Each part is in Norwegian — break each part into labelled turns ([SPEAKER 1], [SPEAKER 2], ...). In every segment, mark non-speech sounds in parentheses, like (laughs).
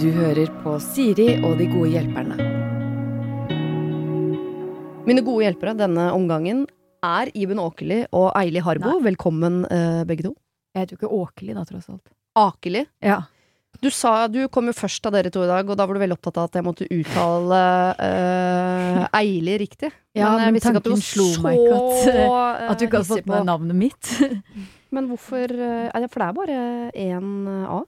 [SPEAKER 1] Du hører på Siri og de gode hjelperne.
[SPEAKER 2] Mine gode hjelpere denne omgangen er Iben Åkerli og Eili Harbo. Velkommen, eh, begge to.
[SPEAKER 3] Jeg heter jo ikke Åkerli, da, tross alt.
[SPEAKER 2] Akeli.
[SPEAKER 3] Ja.
[SPEAKER 2] Du, sa, du kom jo først av dere to i dag, og da var du veldig opptatt av at jeg måtte uttale eh, Eili riktig.
[SPEAKER 3] Ja,
[SPEAKER 2] jeg
[SPEAKER 3] men
[SPEAKER 2] visste ikke at du
[SPEAKER 3] tanken
[SPEAKER 2] var
[SPEAKER 3] slo meg
[SPEAKER 2] så,
[SPEAKER 3] ikke
[SPEAKER 2] eh,
[SPEAKER 3] At du ikke har
[SPEAKER 2] hissig
[SPEAKER 3] fått med
[SPEAKER 2] på-
[SPEAKER 3] navnet
[SPEAKER 2] (laughs)
[SPEAKER 3] mitt.
[SPEAKER 2] Men hvorfor eh, er det- For det er bare én A.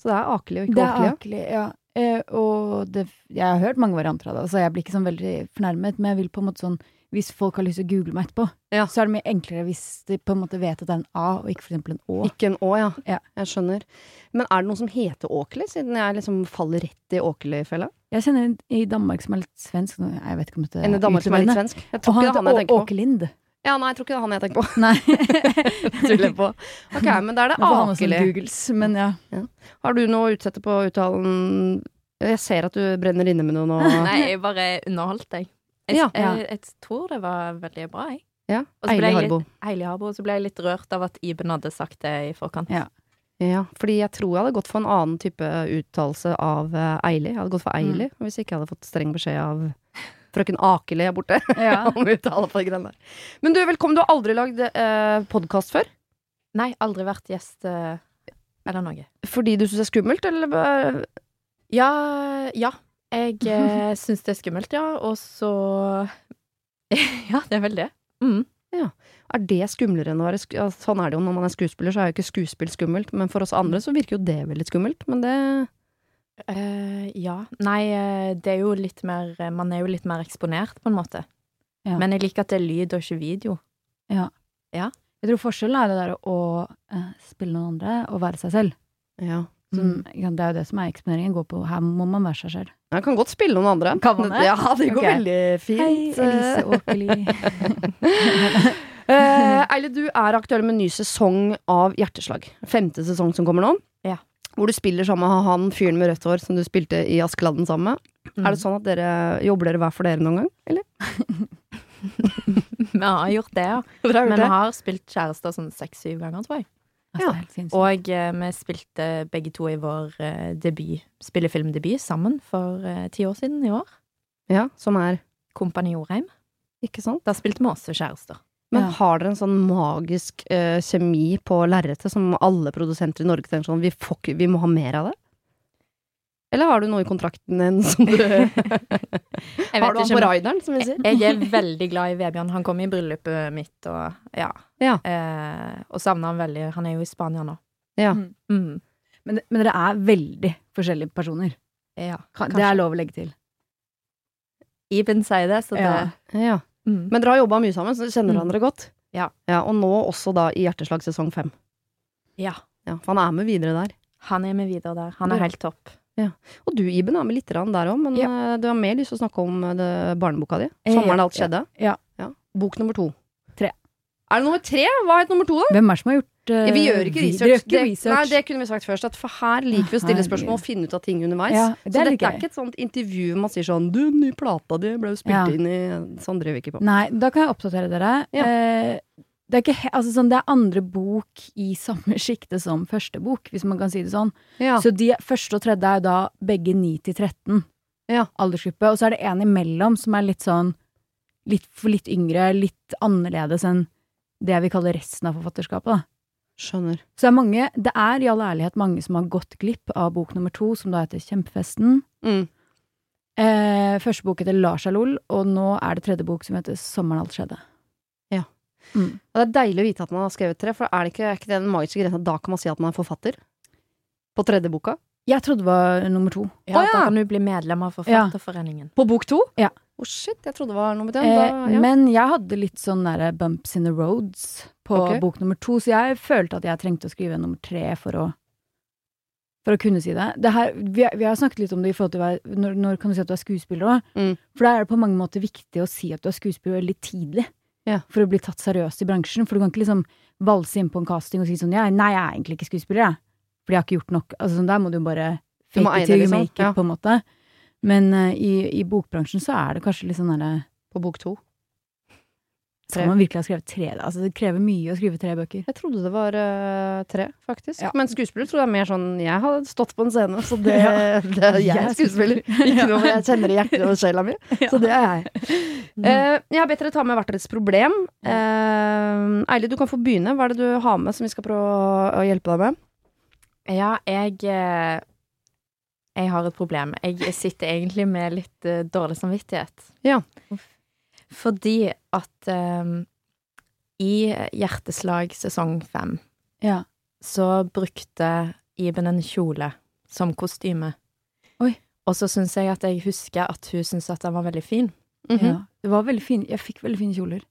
[SPEAKER 2] Så det er Akeli og ikke Åkerli. ja.
[SPEAKER 3] Åkerli, ja. Eh, og det, jeg har hørt mange varianter av det, så jeg blir ikke sånn veldig fornærmet. Men jeg vil på en måte sånn, hvis folk har lyst til å google meg etterpå,
[SPEAKER 2] Ja.
[SPEAKER 3] så er det mye enklere hvis de på en måte vet at det er en A, og ikke for eksempel en Å.
[SPEAKER 2] Ikke en Å, ja.
[SPEAKER 3] Ja.
[SPEAKER 2] Jeg skjønner. Men er det noen som heter Åkerli, siden jeg liksom faller rett i Åkerli-fella?
[SPEAKER 3] Jeg kjenner en i Danmark som er litt svensk, nå- jeg vet ikke om dette
[SPEAKER 2] En i Danmark som er litt
[SPEAKER 3] utleverende.
[SPEAKER 2] svensk? Jeg
[SPEAKER 3] Og
[SPEAKER 2] tror ikke det er
[SPEAKER 3] han
[SPEAKER 2] Eh, han jeg
[SPEAKER 3] heter
[SPEAKER 2] tenker på.
[SPEAKER 3] Åkerlind.
[SPEAKER 2] Ja, nei, jeg tror ikke det er han (laughs) jeg
[SPEAKER 3] (laughs)
[SPEAKER 2] tenker på.
[SPEAKER 3] Nei. (laughs)
[SPEAKER 2] Tuller på. Ok, men da er det
[SPEAKER 3] Nå får han også
[SPEAKER 2] Akeli.
[SPEAKER 3] Googles, men
[SPEAKER 2] (laughs)
[SPEAKER 3] ja.
[SPEAKER 2] Har du noe å utsette på uttalen? Jeg ser at du brenner inne med noe nå.
[SPEAKER 4] Nei, jeg bare underholdt deg. Jeg,
[SPEAKER 2] Ja.
[SPEAKER 4] jeg, jeg tror det var veldig bra, jeg.
[SPEAKER 2] Ja,
[SPEAKER 4] Og så ble
[SPEAKER 2] Eile
[SPEAKER 4] jeg
[SPEAKER 2] Harbo.
[SPEAKER 4] litt- Eile Harbo. Og så ble jeg litt rørt av at Iben hadde sagt det i forkant.
[SPEAKER 3] Ja.
[SPEAKER 2] Ja, fordi jeg tror jeg hadde gått for en annen type uttalelse av eh, Eili. Jeg hadde gått for Eili hvis jeg ikke hadde fått streng beskjed av frøken Akeli her borte.
[SPEAKER 3] ja.
[SPEAKER 2] (laughs) om uttale på de greiene der. Men du, velkommen. Du har aldri lagd eh, podkast før?
[SPEAKER 4] Nei, aldri vært gjest eh, eller noe.
[SPEAKER 2] Fordi du syns det er skummelt, eller? eh,
[SPEAKER 4] Ja, ja. Jeg (laughs) eh, syns det er skummelt, ja. Og så (laughs) Ja, det er vel det. Mm.
[SPEAKER 2] Er det skumlere enn å være sk ja, Sånn er det jo når man er skuespiller, så er jo ikke skuespill skummelt. Men for oss andre så virker jo det veldig skummelt. Men det
[SPEAKER 4] Eh, ja. Nei, eh, det er jo litt mer eh, Man er jo litt mer eksponert, på en måte.
[SPEAKER 3] Ja.
[SPEAKER 4] Men jeg liker at det er lyd og ikke video.
[SPEAKER 3] Jeg tror forskjellen er det der å eh, spille noen andre og være seg selv.
[SPEAKER 2] Ja.
[SPEAKER 3] Som,
[SPEAKER 2] Mm.
[SPEAKER 3] ikke sant, Det er jo det som er eksponeringen. Går på, her må man være seg selv.
[SPEAKER 2] Jeg kan godt spille noen andre.
[SPEAKER 3] Kan man det?
[SPEAKER 2] Ja, det går
[SPEAKER 3] Ok.
[SPEAKER 2] veldig fint.
[SPEAKER 3] Elise Åkerli.
[SPEAKER 2] (laughs) Eh, Eile, du er aktuell med en ny sesong av Hjerteslag. Femte sesong som kommer nå.
[SPEAKER 4] Ja.
[SPEAKER 2] Hvor du spiller sammen med han fyren med rødt hår som du spilte i Askeladden sammen med.
[SPEAKER 4] Mm.
[SPEAKER 2] Er det sånn at dere jobber dere hver for dere noen gang? Eller?
[SPEAKER 4] (laughs) Vi har gjort det, ja.
[SPEAKER 2] Dere har
[SPEAKER 4] Men vi
[SPEAKER 2] gjort det?
[SPEAKER 4] har spilt kjærester sånn seks-syv ganger, tror jeg.
[SPEAKER 3] Altså,
[SPEAKER 2] Ja.
[SPEAKER 3] det er helt sinnssykt.
[SPEAKER 4] Og eh, vi spilte begge to i vår eh, debut, spillefilmdebut sammen for eh, ti år siden i år.
[SPEAKER 2] Ja, som er
[SPEAKER 4] Kompani Jorheim.
[SPEAKER 2] Ikke sant?
[SPEAKER 4] Da spilte vi også
[SPEAKER 2] (laughs)
[SPEAKER 4] kjærester.
[SPEAKER 2] Men
[SPEAKER 3] Ja.
[SPEAKER 2] har dere en sånn magisk eh, kjemi på lerretet som alle produsenter i Norge tenker sånn vi, får ikke, vi må ha mer av det? Eller har du noe i kontrakten din som du
[SPEAKER 4] Jeg
[SPEAKER 2] Har du
[SPEAKER 4] vet
[SPEAKER 2] han
[SPEAKER 4] ikke,
[SPEAKER 2] på
[SPEAKER 4] men-
[SPEAKER 2] rideren,
[SPEAKER 3] Eh,
[SPEAKER 2] som vi sier?
[SPEAKER 4] Jeg er veldig glad i Vebjørn. Han kom i bryllupet mitt og ja.
[SPEAKER 2] Ja.
[SPEAKER 4] Eh, og savner han veldig. Han er jo i Spania nå.
[SPEAKER 2] Ja.
[SPEAKER 4] Mm.
[SPEAKER 3] men, men dere er veldig forskjellige personer.
[SPEAKER 4] Ja.
[SPEAKER 3] Kan, det
[SPEAKER 4] Kanskje.
[SPEAKER 3] er lov å legge til.
[SPEAKER 4] Iben sier det, så det
[SPEAKER 3] Ja.
[SPEAKER 2] Ja.
[SPEAKER 4] mm.
[SPEAKER 2] Men dere har jobba mye sammen, så dere kjenner
[SPEAKER 4] Mm.
[SPEAKER 2] hverandre godt.
[SPEAKER 4] Ja.
[SPEAKER 2] Og nå også da i Hjerteslag sesong fem.
[SPEAKER 4] ja.
[SPEAKER 2] Ja, for han er med videre der.
[SPEAKER 4] Han er med videre der. Han er
[SPEAKER 2] Ja.
[SPEAKER 4] helt topp.
[SPEAKER 2] Og du, Iben, er med litt grann der òg, men eh, du har mer lyst til å snakke om eh, det, barneboka di.
[SPEAKER 3] Eh,
[SPEAKER 2] 'Sommeren alt
[SPEAKER 3] ja.
[SPEAKER 2] skjedde'.
[SPEAKER 3] Ja.
[SPEAKER 2] Bok nummer to.
[SPEAKER 3] Tre.
[SPEAKER 2] Er det nummer tre? Hva het nummer to, da?
[SPEAKER 3] Hvem er det som har gjort eh,
[SPEAKER 2] Vi gjør ikke
[SPEAKER 3] vi-
[SPEAKER 2] research.
[SPEAKER 3] Dere gjør ikke
[SPEAKER 2] Det- Nei,
[SPEAKER 3] research.
[SPEAKER 2] det kunne vi sagt først. At for her liker vi å stille spørsmål og finne ut av ting underveis.
[SPEAKER 3] ja,
[SPEAKER 2] så
[SPEAKER 3] det er
[SPEAKER 2] dette
[SPEAKER 3] litt
[SPEAKER 2] er
[SPEAKER 3] gøy.
[SPEAKER 2] ikke et sånt intervju hvor man sier sånn 'Du, den nye plata di ble jo
[SPEAKER 3] Ja.
[SPEAKER 2] spilt inn i Sånn driver vi ikke på.
[SPEAKER 3] Nei, da kan jeg oppdatere dere.
[SPEAKER 2] Ja.
[SPEAKER 3] Eh, det, er ikke, he- altså, sånn, det er andre bok i samme (laughs) sjikte som første bok, hvis man kan si det sånn.
[SPEAKER 2] Ja.
[SPEAKER 3] Så de første og tredje er jo da begge 9 til 13
[SPEAKER 2] Ja.
[SPEAKER 3] aldersgruppe. Og så er det en imellom som er litt sånn litt, for litt yngre, litt annerledes enn det vi kaller resten av forfatterskapet. Da.
[SPEAKER 2] Skjønner.
[SPEAKER 3] Så det er mange, det er i all ærlighet mange som har gått glipp av bok nummer to, som da heter Kjempefesten.
[SPEAKER 2] Mm.
[SPEAKER 3] Eh, første bok heter Lars er lol, og nå er det tredje bok som heter Sommeren alt skjedde.
[SPEAKER 2] Ja.
[SPEAKER 3] Mm.
[SPEAKER 2] Ja, det er deilig å vite at man har skrevet tre, for er det ikke, er ikke det den magiske grensa? Da kan man si at man er forfatter? På tredje boka?
[SPEAKER 3] Jeg trodde det var nummer to.
[SPEAKER 4] Ja,
[SPEAKER 2] Å, ja.
[SPEAKER 4] Da kan du bli medlem av Forfatterforeningen.
[SPEAKER 2] På bok to?
[SPEAKER 3] Ja.
[SPEAKER 2] Å shit, jeg trodde det var nummer tre.
[SPEAKER 3] Eh,
[SPEAKER 2] Da, ja.
[SPEAKER 3] Men jeg hadde litt sånn derre bumps in the roads på
[SPEAKER 2] Ok.
[SPEAKER 3] bok nummer to, så jeg følte at jeg trengte å skrive nummer tre for å, for å kunne si det. det her, vi, vi har snakket litt om det i forhold til hva- når, når kan du si at du er skuespiller òg.
[SPEAKER 2] Mm.
[SPEAKER 3] For da er det på mange måter viktig å si at du er skuespiller veldig tidlig.
[SPEAKER 2] Ja.
[SPEAKER 3] For å bli tatt seriøst i bransjen. For du kan ikke liksom valse inn på en casting og si sånn «Jeg- Nei, jeg er egentlig ikke skuespiller, jeg. For jeg har ikke gjort nok. Altså, sånn, der må du bare
[SPEAKER 2] Du
[SPEAKER 3] fake
[SPEAKER 2] må eie
[SPEAKER 3] it till you
[SPEAKER 2] det, liksom.
[SPEAKER 3] make it,
[SPEAKER 2] Ja.
[SPEAKER 3] på en måte. Men eh, i, i bokbransjen så er det kanskje litt sånn derre
[SPEAKER 2] På bok to. Tre.
[SPEAKER 3] Skal man virkelig ha skrevet tre? da? Altså, det krever mye å skrive tre bøker.
[SPEAKER 2] Jeg trodde det var eh, tre, faktisk.
[SPEAKER 3] Ja.
[SPEAKER 2] Men skuespiller tror jeg er mer sånn Jeg har stått på en scene, så (laughs) det,
[SPEAKER 3] Ja.
[SPEAKER 2] det er jeg er
[SPEAKER 3] (laughs)
[SPEAKER 2] skuespiller. Ikke noe jeg kjenner i hjertet og sjela (laughs) mi. Så det er jeg. Eh, jeg har bedt dere ta med hvert deres problem. Eh, Eilig, du kan få begynne. Hva er det du har med som vi skal prøve å- å hjelpe deg med?
[SPEAKER 4] Ja, jeg eh, Jeg har et problem. Jeg sitter egentlig med litt eh, dårlig samvittighet.
[SPEAKER 2] Ja.
[SPEAKER 4] Fordi at eh, i Hjerteslag sesong fem
[SPEAKER 3] Ja.
[SPEAKER 4] så brukte Iben en kjole som kostyme.
[SPEAKER 3] Oi.
[SPEAKER 4] Og så syns jeg at jeg husker at hun syntes at den var veldig fin.
[SPEAKER 3] ja.
[SPEAKER 2] Mhm.
[SPEAKER 3] Det var veldig fin. Jeg fikk veldig fine kjoler.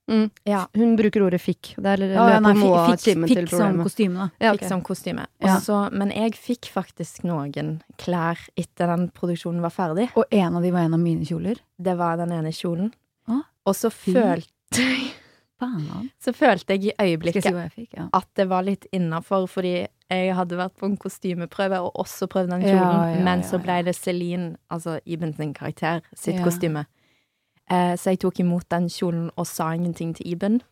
[SPEAKER 4] Ja.
[SPEAKER 2] Hun bruker ordet fikk. Det er
[SPEAKER 3] Ja, ja,
[SPEAKER 2] løper
[SPEAKER 3] nei, fikk,
[SPEAKER 2] noe av
[SPEAKER 3] fikk,
[SPEAKER 2] kimen til
[SPEAKER 3] fikk som
[SPEAKER 2] problemet.
[SPEAKER 3] kostyme, da.
[SPEAKER 2] Ja,
[SPEAKER 4] Fikk
[SPEAKER 2] ok.
[SPEAKER 4] som kostyme.
[SPEAKER 3] Ja.
[SPEAKER 4] Og så- men jeg fikk faktisk noen klær etter den produksjonen var ferdig.
[SPEAKER 3] Og en av de var en av mine kjoler.
[SPEAKER 4] Det var den ene kjolen.
[SPEAKER 3] Å,
[SPEAKER 4] Og så
[SPEAKER 3] fint.
[SPEAKER 4] følte,
[SPEAKER 3] Banan.
[SPEAKER 4] så følte jeg
[SPEAKER 3] Skal
[SPEAKER 4] i
[SPEAKER 3] jeg si
[SPEAKER 4] øyeblikket
[SPEAKER 3] hva jeg fikk? Ja.
[SPEAKER 4] at det var litt innafor, fordi jeg hadde vært på en kostymeprøve og også prøvd den kjolen,
[SPEAKER 3] Ja, ja,
[SPEAKER 4] men
[SPEAKER 3] ja,
[SPEAKER 4] så ble
[SPEAKER 3] ja.
[SPEAKER 4] det Celine, altså Iben sin karakter, sitt
[SPEAKER 3] Ja.
[SPEAKER 4] kostyme. Eh, så jeg tok imot den kjolen og sa ingenting til Iben.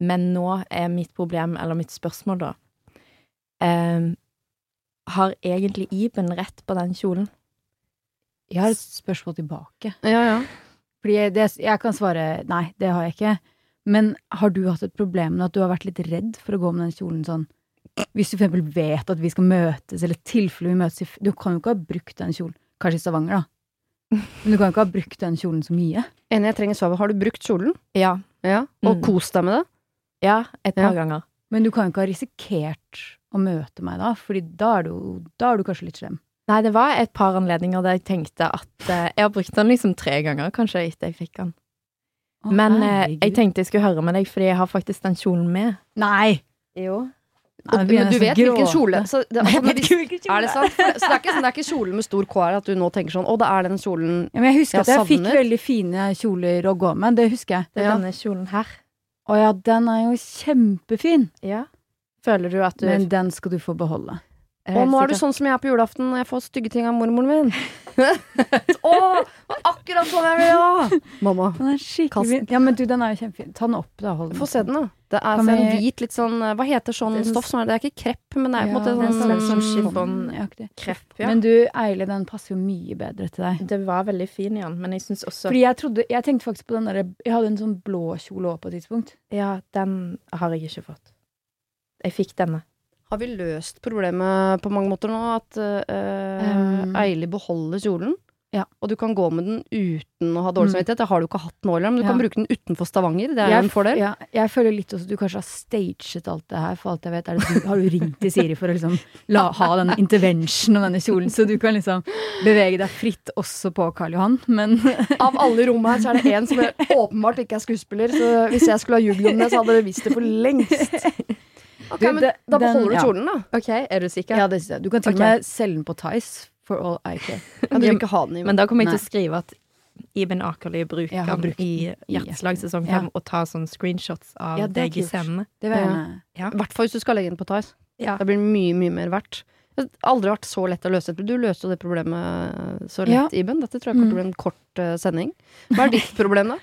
[SPEAKER 4] Men nå er mitt problem, eller mitt spørsmål da, eh, har egentlig Iben rett på den kjolen?
[SPEAKER 3] Jeg har et spørsmål tilbake.
[SPEAKER 2] Ja, ja.
[SPEAKER 3] Fordi jeg- det, jeg kan svare nei, det har jeg ikke. Men har du hatt et problem med at du har vært litt redd for å gå med den kjolen sånn? Hvis du for eksempel vet at vi skal møtes, eller tilfelle vi møtes i f- Du kan jo ikke ha brukt den kjolen. Kanskje i Stavanger, da. Men du kan jo ikke ha brukt den kjolen så mye.
[SPEAKER 2] Enig, jeg trenger svar. på, Har du brukt kjolen?
[SPEAKER 4] Ja.
[SPEAKER 2] Ja. Og
[SPEAKER 4] Mm.
[SPEAKER 2] kost deg med det?
[SPEAKER 4] Ja, et par
[SPEAKER 2] Ja.
[SPEAKER 4] ganger.
[SPEAKER 3] Men du kan jo ikke ha risikert å møte meg da, Fordi da er du, da er du kanskje litt slem.
[SPEAKER 4] Nei, det var et par anledninger der jeg tenkte at eh, Jeg har brukt den liksom tre ganger, kanskje, etter jeg fikk den.
[SPEAKER 3] Å,
[SPEAKER 4] Men eh,
[SPEAKER 3] herregud.
[SPEAKER 4] jeg tenkte jeg skulle høre med deg, fordi jeg har faktisk den kjolen med.
[SPEAKER 3] Nei!
[SPEAKER 4] Jo.
[SPEAKER 3] Nei, nå
[SPEAKER 2] Og-
[SPEAKER 3] begynner
[SPEAKER 2] men du
[SPEAKER 3] jeg
[SPEAKER 2] vet
[SPEAKER 3] nesten å
[SPEAKER 2] hvilken
[SPEAKER 3] gråte.
[SPEAKER 2] kjole så (laughs) det, altså, men hvis- Er det
[SPEAKER 4] sant?
[SPEAKER 2] sant? For det- Så det er ikke, sånn- det er ikke kjole med stor K her at du nå tenker sånn Å, det er den kjolen
[SPEAKER 3] Ja, men jeg husker
[SPEAKER 2] Jeg
[SPEAKER 3] at jeg fikk
[SPEAKER 2] savner.
[SPEAKER 3] veldig fine kjoler å gå med. Det husker jeg.
[SPEAKER 4] Det er
[SPEAKER 2] Ja.
[SPEAKER 4] denne kjolen her.
[SPEAKER 3] Å ja, den er jo kjempefin!
[SPEAKER 4] Ja. Føler du at du
[SPEAKER 3] Men den skal du få beholde.
[SPEAKER 4] er
[SPEAKER 2] Å,
[SPEAKER 4] helt
[SPEAKER 2] nå er du
[SPEAKER 4] sikker?
[SPEAKER 2] sånn som jeg er på julaften og jeg får stygge ting av mormoren min. (laughs) Å, akkurat sånn jeg vil ha! Mamma.
[SPEAKER 3] Den er skikkelig
[SPEAKER 2] Kast den.
[SPEAKER 3] fin. Ja, men du, den er jo kjempefin. Ta den opp, da. Hold den.
[SPEAKER 2] Få se den, da. Det er
[SPEAKER 3] Kan
[SPEAKER 2] altså en
[SPEAKER 3] vi-
[SPEAKER 2] hvit, litt sånn eh, Hva heter sånn
[SPEAKER 4] Det er sånn-
[SPEAKER 2] stoff som er Det er ikke krepp, men det er på en måte
[SPEAKER 4] det er
[SPEAKER 2] sånn,
[SPEAKER 4] sånn- sånn
[SPEAKER 2] sånn
[SPEAKER 3] Aktig.
[SPEAKER 4] krepp, ja.
[SPEAKER 3] Men du, Eile, den passer jo mye bedre til deg.
[SPEAKER 4] det var veldig fin i den, men jeg syns også
[SPEAKER 3] Fordi jeg trodde Jeg tenkte faktisk på den derre Jeg hadde en sånn blå kjole òg på et tidspunkt.
[SPEAKER 4] Ja, den har jeg ikke fått. Jeg fikk denne.
[SPEAKER 2] Har vi løst problemet på mange måter nå? At eh,
[SPEAKER 3] Um.
[SPEAKER 2] Eili beholder kjolen,
[SPEAKER 3] Ja.
[SPEAKER 2] og du kan gå med den uten å ha dårlig
[SPEAKER 3] Mm.
[SPEAKER 2] samvittighet. Det har du ikke hatt nå heller, men du
[SPEAKER 3] Ja.
[SPEAKER 2] kan bruke den utenfor Stavanger. Det er jo en fordel.
[SPEAKER 3] Ja, jeg føler litt også at du kanskje har staget alt det her, for alt jeg vet. Er det, du- har du ringt til Siri for å liksom la, ha den intervention og denne kjolen, så du kan liksom bevege deg fritt også på Karl Johan, men
[SPEAKER 2] Av alle i rommet her så er det én
[SPEAKER 3] (laughs)
[SPEAKER 2] som er åpenbart ikke er skuespiller, så hvis jeg skulle ha jugd om det, så hadde dere visst det for lengst.
[SPEAKER 3] (laughs)
[SPEAKER 2] Ok,
[SPEAKER 3] Du,
[SPEAKER 2] men
[SPEAKER 3] det-
[SPEAKER 2] Da beholder
[SPEAKER 3] den-
[SPEAKER 2] du
[SPEAKER 3] ja.
[SPEAKER 2] kjolen, da.
[SPEAKER 4] OK, er du sikker?
[SPEAKER 3] Ja, det synes jeg. Du kan til og
[SPEAKER 4] Ok.
[SPEAKER 3] med selge den på Tice for all I care.
[SPEAKER 2] Ja, du vil ikke ha den i
[SPEAKER 4] Men da kommer jeg
[SPEAKER 3] Nei.
[SPEAKER 4] til å skrive at Iben Akerli bruker
[SPEAKER 3] Jeg har
[SPEAKER 4] den
[SPEAKER 3] brukt
[SPEAKER 4] i
[SPEAKER 3] den i
[SPEAKER 4] Hjerteslag sesong
[SPEAKER 3] Ja.
[SPEAKER 4] fem, og tar sånne screenshots av
[SPEAKER 3] Ja, det er
[SPEAKER 4] deg i
[SPEAKER 3] kult.
[SPEAKER 4] scenene.
[SPEAKER 3] Det vil jeg
[SPEAKER 2] Ja.
[SPEAKER 3] gjerne.
[SPEAKER 2] I hvert fall hvis du skal legge den på Tice.
[SPEAKER 4] Ja.
[SPEAKER 2] Da blir den mye, mye mer verdt. Det har aldri vært så lett å løse et problem. Du løste jo det problemet så lett,
[SPEAKER 3] Ja.
[SPEAKER 2] Iben. Dette tror jeg kommer til å bli en kort eh, sending. Hva er ditt (laughs) problem, da?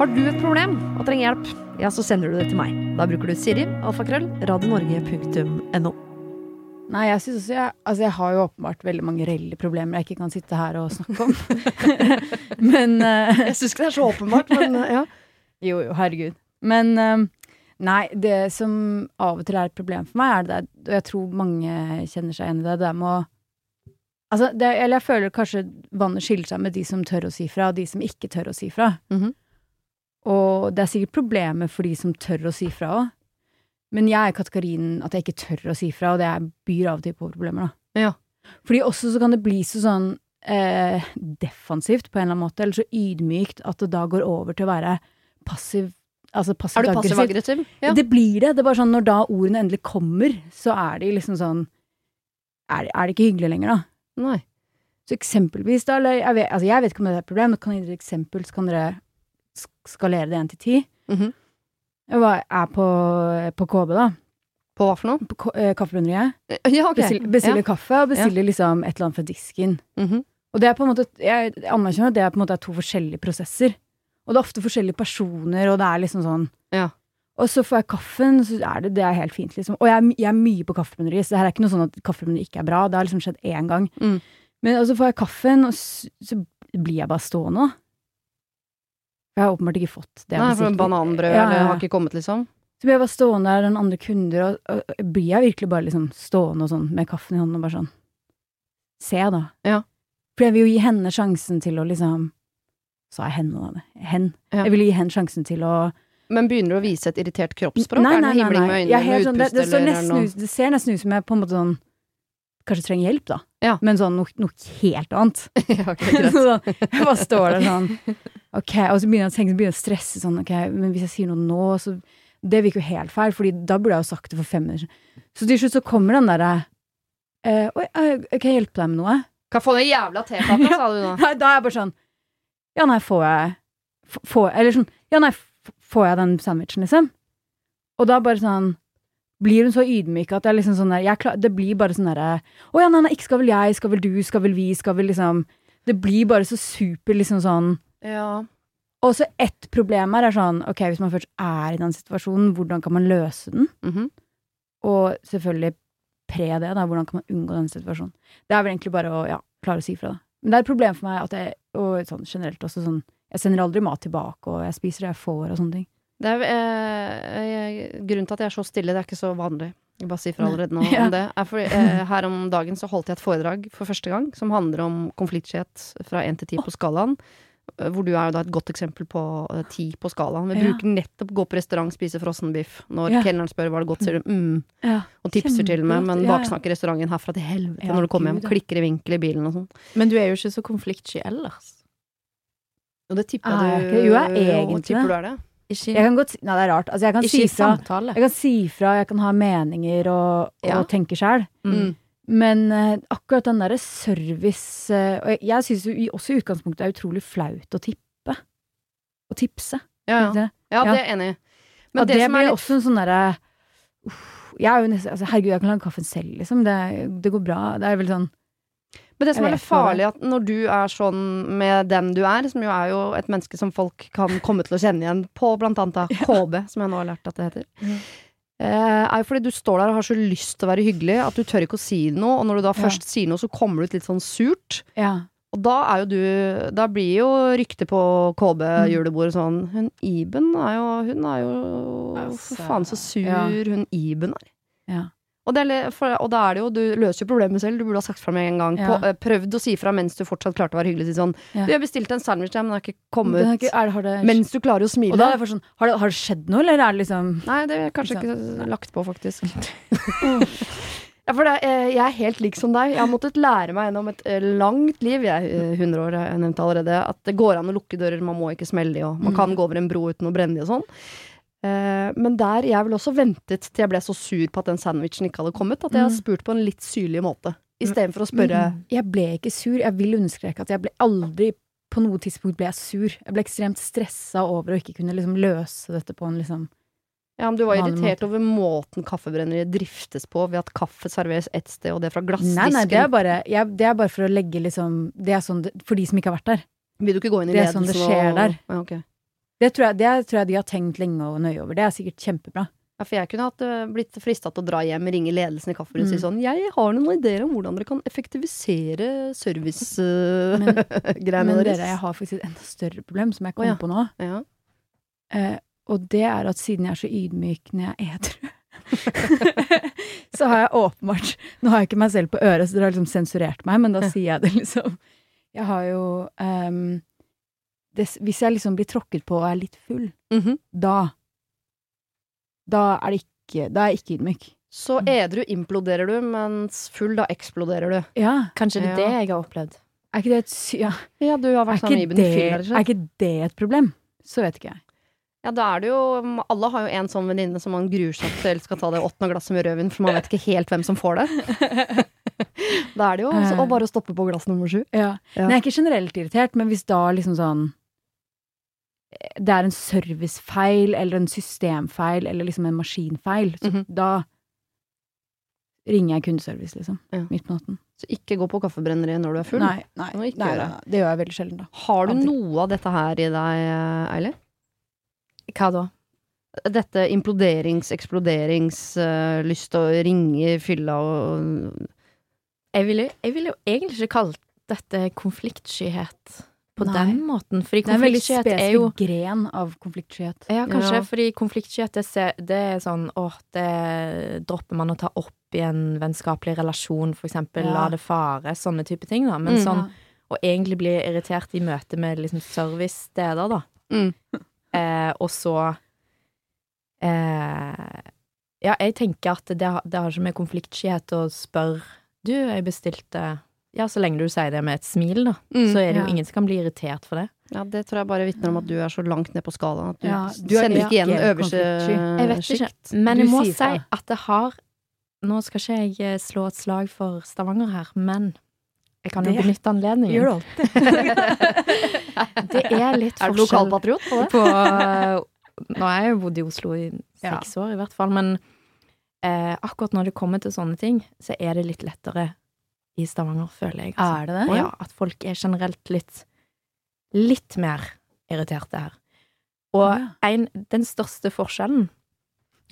[SPEAKER 2] Har du et problem og trenger hjelp, ja, så sender du det til meg. Da bruker du Siri, alfakrøll, radionorge.no.
[SPEAKER 3] Nei, jeg synes også jeg, altså jeg har jo åpenbart veldig mange reelle problemer jeg ikke kan sitte her og snakke om. (laughs) men eh,
[SPEAKER 2] (laughs) Jeg syns ikke det er så åpenbart, (laughs) men eh, ja.
[SPEAKER 3] Jo, jo, herregud. Men eh, nei, det som av og til er et problem for meg, er det der, og jeg tror mange kjenner seg igjen i det, det der med å Altså, det, eller jeg føler kanskje vannet skiller seg med de som tør å si fra, og de som ikke tør å si fra.
[SPEAKER 2] Mhm.
[SPEAKER 3] Og det er sikkert problemer for de som tør å si fra òg. Men jeg er i kategorien at jeg ikke tør å si fra, og det er- byr av og til på problemer, da.
[SPEAKER 2] Ja.
[SPEAKER 3] Fordi også så kan det bli så sånn eh, defensivt på en eller annen måte, eller så ydmykt at det da går over til å være passiv, altså
[SPEAKER 2] Er
[SPEAKER 3] passivt
[SPEAKER 2] du passiv
[SPEAKER 3] aggressiv.
[SPEAKER 2] aggressiv? Ja.
[SPEAKER 3] Det blir det. Det er bare sånn når da ordene endelig kommer, så er de liksom sånn Er, er det ikke hyggelig lenger, da?
[SPEAKER 2] Nei.
[SPEAKER 3] Så eksempelvis, da, eller jeg vet, altså jeg vet ikke om det er et problem, men kan jeg gi dere et eksempel, så kan dere sk- skalere det én til ti.
[SPEAKER 2] Mhm.
[SPEAKER 3] Jeg var- er på, på KB, da.
[SPEAKER 2] På hva for noe? (laughs)
[SPEAKER 3] På K- eh, Kaffebrenneriet.
[SPEAKER 2] Ja, ok.
[SPEAKER 3] Bestiller, bestiller kaffe og bestiller liksom et eller annet fra disken.
[SPEAKER 2] Ja. Mhm.
[SPEAKER 3] Og det er på en måte, jeg anerkjenner at det er på en måte to forskjellige prosesser. Og det er ofte forskjellige personer, og det er liksom sånn
[SPEAKER 2] Ja.
[SPEAKER 3] Og så får jeg kaffen, så er det, det er helt fint, liksom. Og jeg, er my- jeg er mye på kaffebrenneri, så det her er ikke noe sånn at kaffebrenneri ikke er bra. Det har liksom skjedd én gang.
[SPEAKER 2] Mm.
[SPEAKER 3] Men og så får jeg kaffen, og så, så blir jeg bare stående, da. For jeg har åpenbart ikke fått det. jeg
[SPEAKER 2] Nei, for en
[SPEAKER 3] bestilte.
[SPEAKER 2] bananbrød
[SPEAKER 3] Ja, ja,
[SPEAKER 2] eller
[SPEAKER 3] ja.
[SPEAKER 2] har ikke kommet, liksom.
[SPEAKER 3] Så blir jeg bare stående der, og noen andre kunder, og, og, og blir jeg virkelig bare liksom stående og sånn med kaffen i hånden og bare sånn Se, da.
[SPEAKER 2] Ja.
[SPEAKER 3] For jeg vil jo gi henne sjansen til å liksom Sa jeg henne, da? Hen.
[SPEAKER 2] Ja.
[SPEAKER 3] Jeg vil gi henne sjansen til å
[SPEAKER 2] Men begynner du å vise et irritert kroppsspråk? er det himling med
[SPEAKER 3] Jeg er
[SPEAKER 2] øynene
[SPEAKER 3] helt
[SPEAKER 2] med
[SPEAKER 3] sånn, det,
[SPEAKER 2] utpust
[SPEAKER 3] det, ser
[SPEAKER 2] eller er det
[SPEAKER 3] nesten
[SPEAKER 2] noe?
[SPEAKER 3] ut, det ser nesten ut som jeg på en måte sånn Kanskje trenger hjelp, da.
[SPEAKER 2] Ja.
[SPEAKER 3] Men sånn noe, noe helt annet.
[SPEAKER 2] (laughs) Ja, ok, greit.
[SPEAKER 3] (laughs) Så sånn, jeg bare står der sånn Ok, og så begynner jeg å tenke, begynner jeg å stresse sånn Ok, men hvis jeg sier noe nå, så Det virker jo helt feil, fordi da burde jeg jo sagt det for fem minutter siden. Så til slutt så kommer den derre eh, Oi, eh, kan jeg hjelpe deg med noe?
[SPEAKER 2] Kan få den jævla tekaka, sa du da.
[SPEAKER 3] Nei, da er jeg bare sånn Ja, nei, får jeg f- får, Eller sånn Ja, nei, f- får jeg den sandwichen, liksom? Og da bare sånn blir hun så ydmyk at jeg liksom sånn der, jeg klar, det blir bare sånn derre Å ja, nei, nei, ikke skal vel jeg, skal vel du, skal vel vi, skal vel liksom Det blir bare så super liksom sånn
[SPEAKER 2] Ja.
[SPEAKER 3] Og så ett problem her er sånn Ok, hvis man først er i den situasjonen, hvordan kan man løse den?
[SPEAKER 2] mhm.
[SPEAKER 3] Og selvfølgelig pre det, da. Hvordan kan man unngå denne situasjonen? Det er vel egentlig bare å ja, klare å si fra, da. Men det er et problem for meg at jeg, og sånn generelt også sånn Jeg sender aldri mat tilbake, og jeg spiser det jeg får, og sånne ting.
[SPEAKER 2] Det er eh, eh, grunnen til at jeg er så stille, det er ikke så vanlig. Jeg bare sier fra
[SPEAKER 3] Nei.
[SPEAKER 2] allerede nå
[SPEAKER 3] (laughs) Ja.
[SPEAKER 2] om det. Er fordi, eh, her om dagen så holdt jeg et foredrag for første gang som handler om konfliktskyhet fra 1 til 10 på skalaen. eh, Hvor du er jo da et godt eksempel på eh, 10 på skalaen. Vi
[SPEAKER 3] Ja.
[SPEAKER 2] bruker nettopp gå på restaurant, spise frossenbiff. Når
[SPEAKER 3] Ja.
[SPEAKER 2] kelneren spør var det godt, sier du mm.
[SPEAKER 3] Ja.
[SPEAKER 2] Og tipser til og med, men
[SPEAKER 3] Kjempegodt, ja, ja.
[SPEAKER 2] baksnakker restauranten herfra til helvete
[SPEAKER 3] Ja,
[SPEAKER 2] når du kommer hjem.
[SPEAKER 3] Gud, ja.
[SPEAKER 2] Klikker i vinkel i bilen og sånn.
[SPEAKER 4] Men du er jo ikke så konfliktsky ellers.
[SPEAKER 2] Og det tipper
[SPEAKER 3] Er jeg
[SPEAKER 2] du
[SPEAKER 3] ikke? Ah, Jo, jeg er
[SPEAKER 2] jo,
[SPEAKER 3] egentlig
[SPEAKER 2] tipper
[SPEAKER 3] det.
[SPEAKER 2] du er det.
[SPEAKER 4] Ikke,
[SPEAKER 3] Jeg kan godt si Nei, det er rart. Altså, jeg kan
[SPEAKER 4] ikke
[SPEAKER 3] si
[SPEAKER 4] i
[SPEAKER 3] fra.
[SPEAKER 4] samtale.
[SPEAKER 3] Jeg kan si fra, jeg kan ha meninger og, og
[SPEAKER 4] Ja.
[SPEAKER 3] tenke sjæl.
[SPEAKER 4] Mm.
[SPEAKER 3] Men eh, akkurat den derre service eh, Og jeg, jeg syns jo i- også i utgangspunktet det er utrolig flaut å tippe. Å tipse.
[SPEAKER 2] Ja, ja.
[SPEAKER 3] Ikke det? Ja.
[SPEAKER 2] ja det er jeg enig i. Men
[SPEAKER 3] ja, det,
[SPEAKER 2] det som er
[SPEAKER 3] blir
[SPEAKER 2] litt
[SPEAKER 3] også en sånn derre uff, Jeg er jo nesten altså, Herregud, jeg kan lage kaffen selv, liksom. Det, det går bra. Det er vel sånn
[SPEAKER 2] Men det som
[SPEAKER 3] Jeg vet hva
[SPEAKER 2] er litt
[SPEAKER 3] det
[SPEAKER 2] farlig, at når du er sånn med den du er, som jo er jo et menneske som folk kan komme til å kjenne igjen på blant
[SPEAKER 3] (laughs)
[SPEAKER 2] annet da, KB, som jeg nå har lært at det heter,
[SPEAKER 3] Mm.
[SPEAKER 2] eh, er jo fordi du står der og har så lyst til å være hyggelig at du tør ikke å si noe, og når du da
[SPEAKER 3] Ja.
[SPEAKER 2] først sier noe, så kommer det ut litt sånn surt.
[SPEAKER 3] Ja.
[SPEAKER 2] Og da er jo du Da blir jo ryktet på
[SPEAKER 3] Mm.
[SPEAKER 2] KB-julebordet sånn Hun Iben er jo Hun er jo
[SPEAKER 4] Altså,
[SPEAKER 2] For faen så sur
[SPEAKER 3] ja.
[SPEAKER 2] hun Iben er.
[SPEAKER 3] Ja.
[SPEAKER 2] Og, det er, litt- for, og da er det jo Du løser jo problemet selv. Du burde ha sagt fra med en gang.
[SPEAKER 3] Ja.
[SPEAKER 2] På, eh, prøvd å si fra mens du fortsatt klarte å være hyggelig. Si sånn
[SPEAKER 3] Ja.
[SPEAKER 2] Du, jeg bestilte en sandwich, ja, men den har ikke kommet.
[SPEAKER 3] Men har ikke- er, har det,
[SPEAKER 2] Mens du klarer å smile.
[SPEAKER 3] og da er jeg for sånn har det, har det skjedd noe, eller er det liksom
[SPEAKER 2] Nei, det er kanskje
[SPEAKER 3] Ikke
[SPEAKER 2] ikke lagt på, faktisk. (laughs) ja, for det, er, eh, jeg er helt lik som deg. Jeg har måttet lære meg gjennom et eh, langt liv, jeg er eh, 100 år, jeg nevnte allerede, at det går an å lukke dører, man må ikke smelle de, og man
[SPEAKER 3] Mm.
[SPEAKER 2] kan gå over en bro uten å brenne de og sånn. Eh, Men der jeg vel også ventet til jeg ble så sur på at den sandwichen ikke hadde kommet, at jeg
[SPEAKER 3] Mm.
[SPEAKER 2] har spurt på en litt syrlig måte. Istedenfor å spørre
[SPEAKER 3] Jeg ble ikke sur. Jeg vil understreke at jeg ble aldri på noe tidspunkt ble jeg sur. Jeg ble ekstremt stressa over å ikke kunne liksom løse dette på en liksom
[SPEAKER 2] Ja, men du var
[SPEAKER 3] Vanlig
[SPEAKER 2] irritert over måten kaffebrenneriet driftes på, ved at kaffe serveres ett sted, og det fra
[SPEAKER 3] Nei, nei, det er
[SPEAKER 2] glassdisken.
[SPEAKER 3] bare, jeg, det er bare for å legge liksom Det er sånn det, for de som ikke har vært der.
[SPEAKER 2] Vil du ikke gå inn i
[SPEAKER 3] det er sånn det
[SPEAKER 2] ledelsen
[SPEAKER 3] skjer
[SPEAKER 2] og-
[SPEAKER 3] der.
[SPEAKER 2] Ja, ok.
[SPEAKER 3] Det tror jeg, det tror jeg de har tenkt lenge og nøye over. Det er sikkert kjempebra.
[SPEAKER 2] Ja, for jeg kunne hatt, øh, blitt frista til å dra hjem, ringe ledelsen i kaffehuset og si
[SPEAKER 3] Mm.
[SPEAKER 2] sånn Jeg har noen ideer om hvordan dere kan effektivisere
[SPEAKER 3] (laughs)
[SPEAKER 2] (laughs)
[SPEAKER 3] Men-
[SPEAKER 2] servicegreiene
[SPEAKER 3] Men
[SPEAKER 2] deres.
[SPEAKER 3] dere, jeg har faktisk et enda større problem som jeg kom
[SPEAKER 2] Å, ja.
[SPEAKER 3] på nå.
[SPEAKER 2] ja.
[SPEAKER 3] Eh, og det er at siden jeg er så ydmyk når jeg er edru, (laughs) så har jeg åpenbart Nå har jeg ikke meg selv på øret, så dere har liksom sensurert meg, men da sier jeg det liksom. Jeg har jo ehm, det, Hvis jeg liksom blir tråkket på og er litt full,
[SPEAKER 2] Mhm.
[SPEAKER 3] da Da er det ikke Da er jeg ikke ydmyk.
[SPEAKER 2] Så
[SPEAKER 3] Mm.
[SPEAKER 2] edru imploderer du, mens full da eksploderer du.
[SPEAKER 3] Ja.
[SPEAKER 4] Kanskje det er
[SPEAKER 2] Ja.
[SPEAKER 4] det jeg har opplevd.
[SPEAKER 3] Er ikke det et sy... Ja.
[SPEAKER 2] Ja, du har
[SPEAKER 3] Er
[SPEAKER 2] vært
[SPEAKER 3] ikke,
[SPEAKER 2] sammen med Iben
[SPEAKER 3] det,
[SPEAKER 2] i fyll, rett og
[SPEAKER 3] er
[SPEAKER 2] slett.
[SPEAKER 3] ikke det et problem? Så vet ikke jeg.
[SPEAKER 2] Ja, da er det jo Alle har jo en sånn venninne som man gruer seg til skal ta det åttende glasset med rødvin, for man vet ikke helt hvem som får det.
[SPEAKER 3] (laughs)
[SPEAKER 2] da er det jo også,
[SPEAKER 3] Eh.
[SPEAKER 2] og bare å stoppe på glass nummer sju.
[SPEAKER 3] Ja.
[SPEAKER 2] Ja.
[SPEAKER 3] Men jeg er ikke generelt irritert, men hvis da liksom sånn eh, Det er en servicefeil eller en systemfeil eller liksom en maskinfeil, så
[SPEAKER 2] Mhm.
[SPEAKER 3] da ringer jeg kundeservice, liksom.
[SPEAKER 2] Ja.
[SPEAKER 3] Midt på natten.
[SPEAKER 2] Så ikke gå på kaffebrenneri når du er full.
[SPEAKER 3] Nei, nei,
[SPEAKER 2] Må ikke
[SPEAKER 3] nei,
[SPEAKER 2] gjøre.
[SPEAKER 3] nei, nei, det gjør jeg veldig sjelden, da.
[SPEAKER 2] Har du
[SPEAKER 3] Aldri.
[SPEAKER 2] noe av dette her i deg, eh, Eilif?
[SPEAKER 4] Hva da?
[SPEAKER 2] Dette imploderings, eksploderings, eh, lyst til å ringe, fylla og
[SPEAKER 4] Jeg ville, jeg ville jo egentlig ikke kalt dette konfliktskyhet på
[SPEAKER 3] Nei.
[SPEAKER 4] den måten. Fordi
[SPEAKER 3] Det er en veldig
[SPEAKER 4] konfliktskyhet er,
[SPEAKER 3] spesifikk
[SPEAKER 4] jo
[SPEAKER 3] gren av konfliktskyhet.
[SPEAKER 4] Ja, kanskje.
[SPEAKER 2] Ja.
[SPEAKER 4] Fordi konfliktskyhet, det, ser- det er sånn åh, det dropper man å ta opp i en vennskapelig relasjon, for eksempel.
[SPEAKER 3] Ja.
[SPEAKER 4] La det fare. Sånne type ting, da. Men
[SPEAKER 2] Mm.
[SPEAKER 4] sånn å egentlig bli irritert i møte med liksom servicesteder, da.
[SPEAKER 2] Mm.
[SPEAKER 4] (laughs) Eh, og så eh, Ja, jeg tenker at det, har- det har ikke med konfliktskyhet å spørre Du, jeg bestilte Ja, så lenge du sier det med et smil, da,
[SPEAKER 2] Mm.
[SPEAKER 4] så er det jo
[SPEAKER 3] Mm, ja.
[SPEAKER 4] ingen som kan bli irritert for det.
[SPEAKER 2] Ja, det tror jeg bare vitner om at du er så langt ned på skalaen at du,
[SPEAKER 3] Ja, du er
[SPEAKER 2] sender ikke igjen
[SPEAKER 3] ikke
[SPEAKER 2] øverste
[SPEAKER 3] konfliktsky.
[SPEAKER 4] Jeg vet
[SPEAKER 2] sjikt.
[SPEAKER 4] ikke. Men
[SPEAKER 3] Du
[SPEAKER 4] jeg
[SPEAKER 3] sier
[SPEAKER 4] må si
[SPEAKER 3] fra.
[SPEAKER 4] at det har Nå skal ikke jeg eh, slå et slag for Stavanger her, men jeg kan jo
[SPEAKER 3] Det
[SPEAKER 4] benytte anledningen.
[SPEAKER 3] Gjør det alltid.
[SPEAKER 4] Det er litt
[SPEAKER 2] Er du
[SPEAKER 4] forskjell
[SPEAKER 2] lokalpatriot på det?
[SPEAKER 4] på eh, Nå har jeg jo bodd i Oslo i seks år, i hvert fall. Men eh, akkurat når det kommer til sånne ting, så er det litt lettere i Stavanger, føler jeg.
[SPEAKER 2] Ah,
[SPEAKER 4] altså.
[SPEAKER 3] Er det det?
[SPEAKER 4] ja, at folk er generelt litt litt mer irriterte her. Og
[SPEAKER 3] Å, ja.
[SPEAKER 4] en, den største forskjellen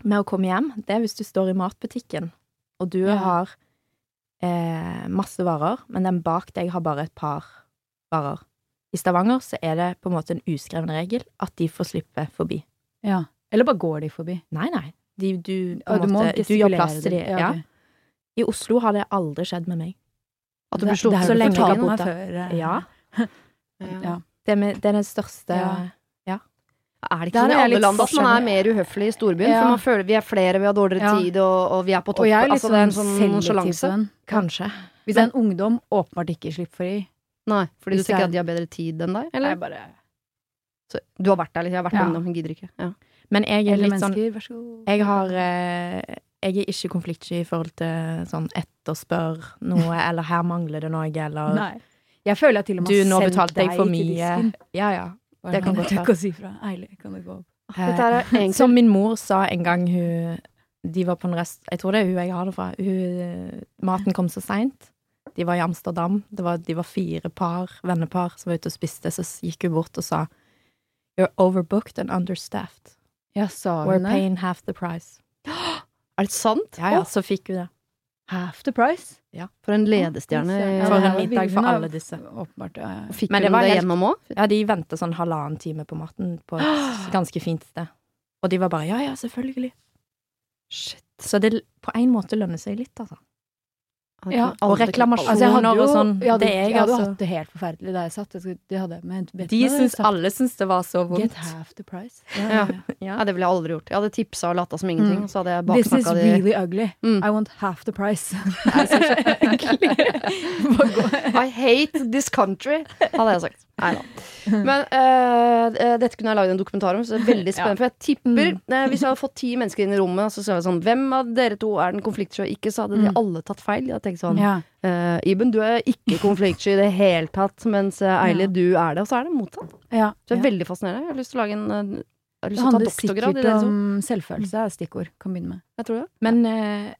[SPEAKER 4] med å komme hjem, det er hvis du står i matbutikken, og du
[SPEAKER 3] Ja.
[SPEAKER 4] har eh, masse varer, men den bak deg har bare et par varer. I Stavanger så er det på en måte en uskreven regel at de får slippe forbi.
[SPEAKER 3] Ja. Eller bare går de forbi?
[SPEAKER 4] Nei, nei. De, du, på
[SPEAKER 3] Ja,
[SPEAKER 4] en måte, du gjør
[SPEAKER 3] gestikulere
[SPEAKER 4] plass til
[SPEAKER 3] det.
[SPEAKER 4] de. Ja,
[SPEAKER 3] ok.
[SPEAKER 4] I Oslo har det aldri skjedd med meg.
[SPEAKER 2] At du blir slått
[SPEAKER 3] har
[SPEAKER 4] så
[SPEAKER 3] du
[SPEAKER 4] lenge jeg
[SPEAKER 3] fortalt
[SPEAKER 4] har
[SPEAKER 3] meg
[SPEAKER 4] bodd
[SPEAKER 3] før, eh.
[SPEAKER 4] Ja.
[SPEAKER 3] Ja.
[SPEAKER 4] Det, er med, det er den største
[SPEAKER 3] Ja.
[SPEAKER 2] Er det ikke
[SPEAKER 3] Der
[SPEAKER 2] sånn
[SPEAKER 3] er
[SPEAKER 2] i
[SPEAKER 3] jeg
[SPEAKER 2] alle
[SPEAKER 3] litt
[SPEAKER 2] land at man er
[SPEAKER 3] forskjellig.
[SPEAKER 2] mer uhøflig i storbyen?
[SPEAKER 3] Ja.
[SPEAKER 2] For man føler vi er flere, vi har dårligere
[SPEAKER 3] Ja.
[SPEAKER 2] tid, og, og vi er på
[SPEAKER 3] Og
[SPEAKER 2] toppen.
[SPEAKER 3] jeg er litt
[SPEAKER 2] altså, det er en
[SPEAKER 3] sånn
[SPEAKER 2] sånn
[SPEAKER 3] selektiv på
[SPEAKER 2] nonsjalanse.
[SPEAKER 3] den.
[SPEAKER 4] Kanskje.
[SPEAKER 3] Hvis det er en ungdom, åpenbart ikke slipp fri.
[SPEAKER 2] Nei, fordi
[SPEAKER 3] Hvis
[SPEAKER 2] du tenker
[SPEAKER 3] jeg-
[SPEAKER 2] at de har bedre tid enn deg? Eller?
[SPEAKER 3] Jeg bare
[SPEAKER 2] Så, du har vært der litt, jeg har vært
[SPEAKER 3] Ja.
[SPEAKER 2] ungdom, hun gidder ikke. Ja.
[SPEAKER 4] Men jeg er
[SPEAKER 3] Eldre
[SPEAKER 4] litt sånn
[SPEAKER 3] mennesker, vær så god.
[SPEAKER 4] Jeg har eh, Jeg er ikke konfliktsky i forhold til sånn etterspør noe, eller her mangler det noe, eller
[SPEAKER 3] Nei. Jeg føler jeg til og med
[SPEAKER 4] Du, nå
[SPEAKER 3] har sendt
[SPEAKER 4] betalte jeg
[SPEAKER 3] deg
[SPEAKER 4] for
[SPEAKER 3] til
[SPEAKER 4] mye.
[SPEAKER 3] disken.
[SPEAKER 4] Ja, ja.
[SPEAKER 3] Bare
[SPEAKER 4] det kan
[SPEAKER 3] nå,
[SPEAKER 4] godt
[SPEAKER 3] du
[SPEAKER 4] være.
[SPEAKER 3] kan si fra. Eilig, kan du gå opp?
[SPEAKER 4] Eh,
[SPEAKER 2] Dette er egentlig
[SPEAKER 4] som min mor sa en gang hun De var på en rest Jeg tror det er hun jeg har det fra. Hun, eh, maten kom så seint. De var i Amsterdam. Det var, de var fire par, vennepar som var ute og spiste. Så gikk hun bort og sa You're overbooked and understaffed.
[SPEAKER 3] Ja, sa
[SPEAKER 4] We're
[SPEAKER 3] hun det?
[SPEAKER 4] paying half the price.
[SPEAKER 2] Er det sant?
[SPEAKER 4] Ja, ja, så fikk hun det.
[SPEAKER 3] Half the price?
[SPEAKER 2] For en ledestjerne.
[SPEAKER 3] Ja,
[SPEAKER 4] For
[SPEAKER 3] det
[SPEAKER 4] en
[SPEAKER 3] var
[SPEAKER 4] middag for
[SPEAKER 3] billigere,
[SPEAKER 4] alle disse.
[SPEAKER 3] Åpenbart. Ja, ja.
[SPEAKER 2] Fikk
[SPEAKER 4] Men det
[SPEAKER 2] hun
[SPEAKER 4] var
[SPEAKER 2] det
[SPEAKER 4] helt-
[SPEAKER 2] gjennom òg?
[SPEAKER 4] Ja, de venta sånn halvannen time på maten på (gasps) et ganske fint sted. Og de var bare ja, ja, selvfølgelig.
[SPEAKER 2] Shit.
[SPEAKER 4] Så det på en måte lønner seg litt, altså.
[SPEAKER 3] Ja,
[SPEAKER 4] og reklamasjoner. Altså, jeg hadde jo-
[SPEAKER 3] jeg hadde,
[SPEAKER 4] det er jeg,
[SPEAKER 3] jeg hadde
[SPEAKER 4] altså.
[SPEAKER 3] hatt Sånn, det helt forferdelig der jeg satt. Jeg skulle, det hadde jeg med bedt
[SPEAKER 4] De
[SPEAKER 3] meg,
[SPEAKER 4] syns,
[SPEAKER 3] satt,
[SPEAKER 4] alle syns det var så
[SPEAKER 3] Get
[SPEAKER 4] vondt.
[SPEAKER 3] half the price.
[SPEAKER 2] Ja.
[SPEAKER 4] Ja.
[SPEAKER 2] Nei, det ville jeg aldri gjort. Jeg hadde tipsa og lata som ingenting.
[SPEAKER 3] Mm.
[SPEAKER 2] Så hadde jeg
[SPEAKER 3] This is
[SPEAKER 2] baksnakka de
[SPEAKER 3] really ugly.
[SPEAKER 2] Mm.
[SPEAKER 3] I want half the price.
[SPEAKER 2] I hate this country, hadde jeg sagt. Nei da. Men eh, eh, dette kunne jeg lagd en dokumentar om, så det er
[SPEAKER 3] (laughs)
[SPEAKER 2] veldig spennende. For jeg tipper,
[SPEAKER 3] Mm.
[SPEAKER 2] eh, hvis jeg hadde fått ti mennesker inn i rommet, så sa jeg sånn Hvem av dere to er den konfliktsky og ikke? Så hadde de
[SPEAKER 3] Mm.
[SPEAKER 2] alle tatt feil. Jeg hadde tenkt sånn
[SPEAKER 3] ja.
[SPEAKER 2] eh, Iben, du er ikke konfliktsky i det hele tatt, mens eh, Eile,
[SPEAKER 3] Ja.
[SPEAKER 2] du er det. Og så er det motsatt.
[SPEAKER 3] Ja.
[SPEAKER 2] Så det er veldig fascinerende. Jeg har lyst til å lage en eh,
[SPEAKER 3] sånn Det
[SPEAKER 2] Jeg har lyst til å ta
[SPEAKER 3] handler
[SPEAKER 2] doktorgrad
[SPEAKER 3] sikkert
[SPEAKER 2] i det.
[SPEAKER 3] om
[SPEAKER 2] Liksom.
[SPEAKER 3] selvfølelse, er stikkord. Kan begynne med.
[SPEAKER 2] Jeg tror det.
[SPEAKER 4] (laughs) Men, eh,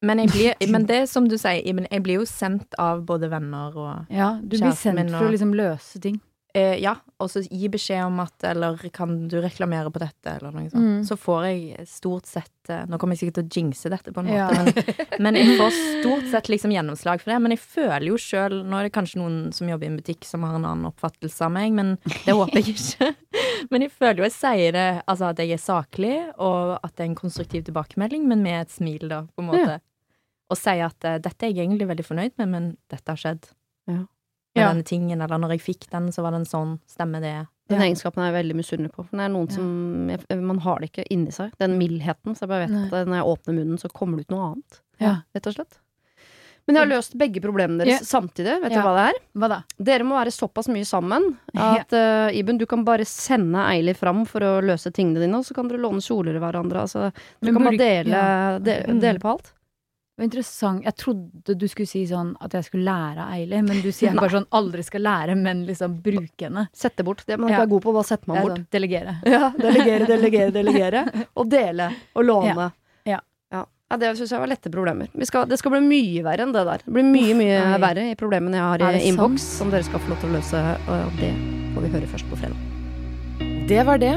[SPEAKER 4] men, jeg blir, men det er som du sier, Iben, jeg blir jo sendt av både venner og
[SPEAKER 3] Ja, du blir
[SPEAKER 4] Kjæresten min
[SPEAKER 3] sendt for
[SPEAKER 4] og-
[SPEAKER 3] å liksom løse ting.
[SPEAKER 4] eh, Ja, og så gi beskjed om at Eller kan du reklamere på dette, eller noe sånt.
[SPEAKER 3] Mm.
[SPEAKER 4] Så får jeg stort sett eh, Nå kommer jeg sikkert til å jinxe dette på en måte,
[SPEAKER 3] Ja.
[SPEAKER 4] men Men jeg får stort sett liksom gjennomslag for det. Men jeg føler jo sjøl Nå er det kanskje noen som jobber i en butikk som har en annen oppfattelse av meg, men det håper jeg ikke. (laughs) Men jeg føler jo jeg sier det, altså at jeg er saklig, og at det er en konstruktiv tilbakemelding, men med et smil, da, på en måte. Og sier at eh, dette er jeg egentlig veldig fornøyd med, men dette har skjedd.
[SPEAKER 2] Ja.
[SPEAKER 4] Med
[SPEAKER 3] Ja.
[SPEAKER 4] denne tingen, eller når jeg fikk den, så var den sånn. Stemmer det?
[SPEAKER 2] Den
[SPEAKER 3] Ja.
[SPEAKER 2] egenskapen er jeg veldig misunnelig på. For det er noen
[SPEAKER 3] Ja. Mm.
[SPEAKER 2] som jeg, eh, Man har det ikke inni seg. Den mildheten. Så jeg bare vet
[SPEAKER 3] Nei.
[SPEAKER 2] at eh, når jeg åpner munnen, så kommer det ut noe annet.
[SPEAKER 3] Ja.
[SPEAKER 2] Rett og slett. Men jeg har løst begge problemene deres samtidig. Vet du
[SPEAKER 3] Ja.
[SPEAKER 2] hva det er?
[SPEAKER 3] Hva da?
[SPEAKER 2] Dere må være såpass mye sammen at eh, Iben, du kan bare sende Eili fram for å løse tingene dine, og så kan dere låne kjoler av hverandre. Altså, dere
[SPEAKER 3] Men
[SPEAKER 2] kan bare
[SPEAKER 3] burde-
[SPEAKER 2] dele,
[SPEAKER 3] ja.
[SPEAKER 2] de,
[SPEAKER 4] Mm.
[SPEAKER 2] dele på alt.
[SPEAKER 3] Det var interessant. Jeg trodde du skulle si sånn at jeg skulle lære av Eili, men du (laughs) sier bare sånn aldri skal lære, men liksom bruke henne.
[SPEAKER 2] Sette bort. Det man
[SPEAKER 3] Ja.
[SPEAKER 2] ikke er god på, bare setter
[SPEAKER 3] Det
[SPEAKER 2] man
[SPEAKER 3] er
[SPEAKER 2] bort.
[SPEAKER 3] sånn, delegere.
[SPEAKER 2] (laughs)
[SPEAKER 4] (laughs)
[SPEAKER 2] Ja, delegere, delegere, delegere. Og dele. Og låne.
[SPEAKER 3] Ja. Ja.
[SPEAKER 2] Ja. Ja, det syns jeg var lette problemer. Vi skal, det skal bli mye verre enn det der. Det blir mye, mye
[SPEAKER 3] nei.
[SPEAKER 2] verre i problemene jeg
[SPEAKER 3] Er
[SPEAKER 2] har
[SPEAKER 3] det
[SPEAKER 2] i innboks, som dere skal få lov til å løse, og det får vi høre først på fredag.
[SPEAKER 1] Det var det.